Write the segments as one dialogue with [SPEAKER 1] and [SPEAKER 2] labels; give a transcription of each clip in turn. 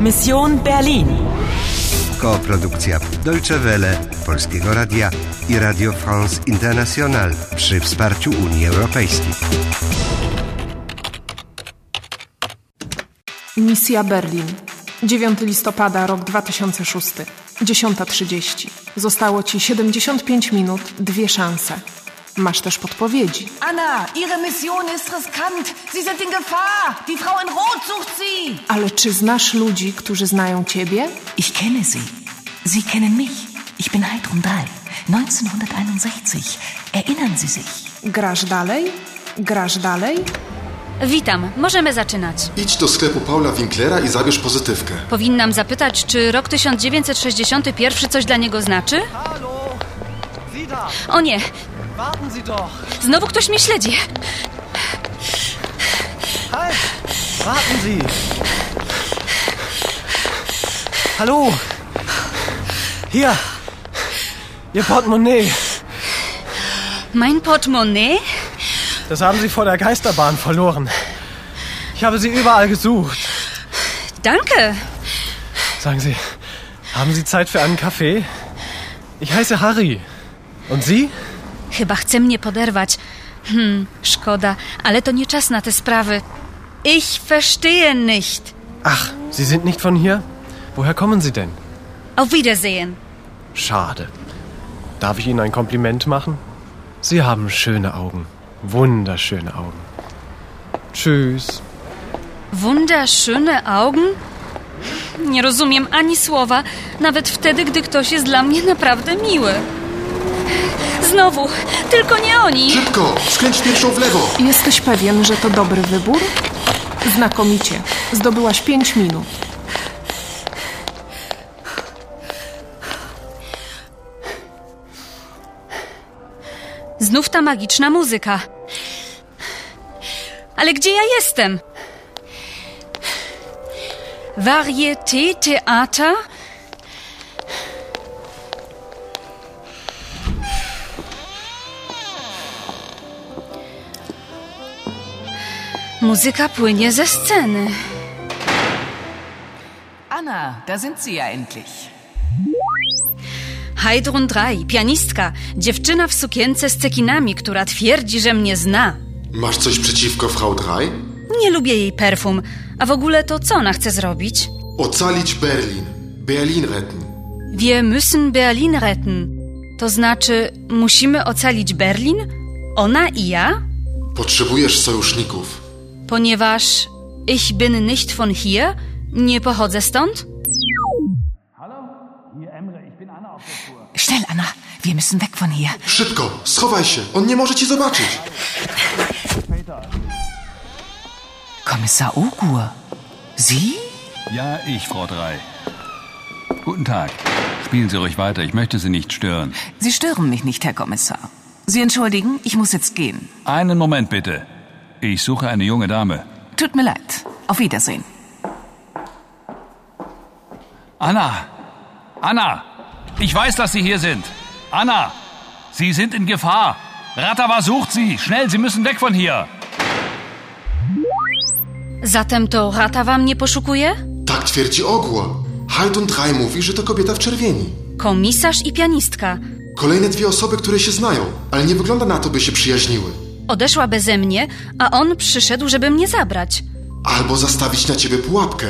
[SPEAKER 1] Mission Berlin.
[SPEAKER 2] Koprodukcja Deutsche Welle, Polskiego Radia i Radio France International przy wsparciu Unii Europejskiej.
[SPEAKER 3] Misja Berlin. 9 listopada, rok 2006. 10.30. Zostało Ci 75 minut, dwie szanse. Masz też podpowiedzi.
[SPEAKER 4] Anna, Ihre Mission ist riskant. Sie sind in Gefahr. Die Frau in Rot sucht Sie.
[SPEAKER 3] Ale czy znasz ludzi, którzy znają Ciebie?
[SPEAKER 5] Ich kenne Sie. Sie kennen mich. Ich bin Heidrun Dahl. 1961. Erinnern Sie sich?
[SPEAKER 3] Grasz dalej? Grasz dalej?
[SPEAKER 6] Witam, możemy zaczynać.
[SPEAKER 7] Idź do sklepu Paula Winklera i zabierz pozytywkę.
[SPEAKER 6] Powinnam zapytać, czy rok 1961 coś dla niego znaczy?
[SPEAKER 8] Hallo! Sie da!
[SPEAKER 6] O nie,
[SPEAKER 8] Warten Sie doch!
[SPEAKER 6] znowu ktoś mnie śledzi.
[SPEAKER 8] Halt! Warten Sie! Hallo! Hier! Ihr Portemonnaie!
[SPEAKER 6] Mein Portemonnaie?
[SPEAKER 8] Das haben Sie vor der Geisterbahn verloren. Ich habe Sie überall gesucht.
[SPEAKER 6] Danke.
[SPEAKER 8] Sagen Sie, haben Sie Zeit für einen Kaffee? Ich heiße Harry. Und Sie?
[SPEAKER 6] Chyba chce mnie poderwać. Hmm, szkoda, ale to nie czas na te sprawy. Ich verstehe nicht.
[SPEAKER 8] Ach, Sie sind nicht von hier? Woher kommen Sie denn?
[SPEAKER 6] Auf Wiedersehen.
[SPEAKER 8] Schade. Darf ich Ihnen ein Kompliment machen? Sie haben schöne Augen. Wunderschöne Augen. Tschüss.
[SPEAKER 6] Wunderschöne Augen? Nie rozumiem ani słowa, nawet wtedy, gdy ktoś jest dla mnie naprawdę miły. Znowu, tylko nie oni.
[SPEAKER 7] Szybko! Skręć pierwszą w lewo!
[SPEAKER 3] Jesteś pewien, że to dobry wybór? Znakomicie. Zdobyłaś 5 minut.
[SPEAKER 6] Znów ta magiczna muzyka. Ale gdzie ja jestem? Varieté Theater? Muzyka płynie ze sceny.
[SPEAKER 4] Anna, da sind Sie ja endlich.
[SPEAKER 6] Heidrun Drei, pianistka, dziewczyna w sukience z cekinami, która twierdzi, że mnie zna.
[SPEAKER 7] Masz coś przeciwko Frau 3?
[SPEAKER 6] Nie lubię jej perfum. A w ogóle to co ona chce zrobić?
[SPEAKER 7] Ocalić Berlin. Berlin retten.
[SPEAKER 6] Wir müssen Berlin retten. To znaczy, musimy ocalić Berlin? Ona i ja?
[SPEAKER 7] Potrzebujesz sojuszników.
[SPEAKER 6] Ponieważ ich bin nicht von hier, nie pochodzę stąd?
[SPEAKER 5] Schnell, Anna. Wir müssen weg von hier.
[SPEAKER 7] Szybko! Schowaj się! On nie może ci zobaczyć!
[SPEAKER 5] Kommissar Ogur. Sie?
[SPEAKER 9] Ja, ich, Frau Drei. Guten Tag. Spielen Sie ruhig weiter, ich möchte Sie nicht stören.
[SPEAKER 5] Sie stören mich nicht, Herr Kommissar. Sie entschuldigen, ich muss jetzt gehen.
[SPEAKER 9] Einen Moment bitte. Ich suche eine junge Dame.
[SPEAKER 5] Tut mir leid. Auf Wiedersehen.
[SPEAKER 9] Anna! Anna! Ich weiß, dass Sie hier sind. Anna! Sie sind in Gefahr. Ratawa sucht Sie. Schnell, Sie müssen weg von hier.
[SPEAKER 6] Zatem to Ratawa mnie poszukuje?
[SPEAKER 7] Tak twierdzi ogło. Hajdun 3 mówi, że to kobieta w czerwieni.
[SPEAKER 6] Komisarz i pianistka.
[SPEAKER 7] Kolejne dwie osoby, które się znają, ale nie wygląda na to, by się przyjaźniły.
[SPEAKER 6] Odeszła beze mnie, a on przyszedł, żeby mnie zabrać.
[SPEAKER 7] Albo zastawić na ciebie pułapkę.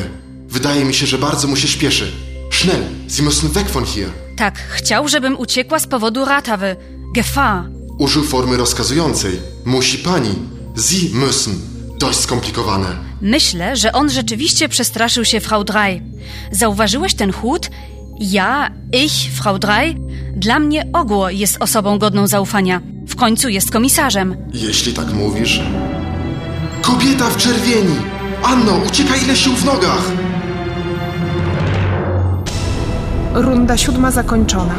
[SPEAKER 7] Wydaje mi się, że bardzo mu się śpieszy. Schnell! Sie müssen weg von hier!
[SPEAKER 6] Tak, chciał, żebym uciekła z powodu Ratawy. Gefahr.
[SPEAKER 7] Użył formy rozkazującej. Musi pani. Sie müssen. Dość skomplikowane.
[SPEAKER 6] Myślę, że on rzeczywiście przestraszył się Frau Drei. Zauważyłeś ten chłód? Ja, ich, Frau Drei? Dla mnie ogło jest osobą godną zaufania. W końcu jest komisarzem.
[SPEAKER 7] Jeśli tak mówisz. Kobieta w czerwieni! Anno, uciekaj ile sił w nogach!
[SPEAKER 3] Runda siódma zakończona.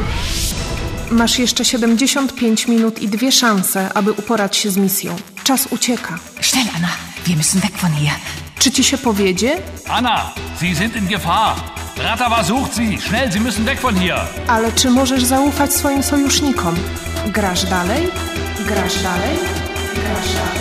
[SPEAKER 3] Masz jeszcze 75 minut i dwie szanse, aby uporać się z misją. Czas ucieka.
[SPEAKER 5] Schnell, Anna. Wir müssen weg von hier.
[SPEAKER 3] Czy ci się powiedzie?
[SPEAKER 9] Anna! Sie sind in Gefahr. Ratawa sucht Sie. Schnell, Sie müssen weg von hier.
[SPEAKER 3] Ale czy możesz zaufać swoim sojusznikom? Grasz dalej? Grasz dalej? Grasz dalej?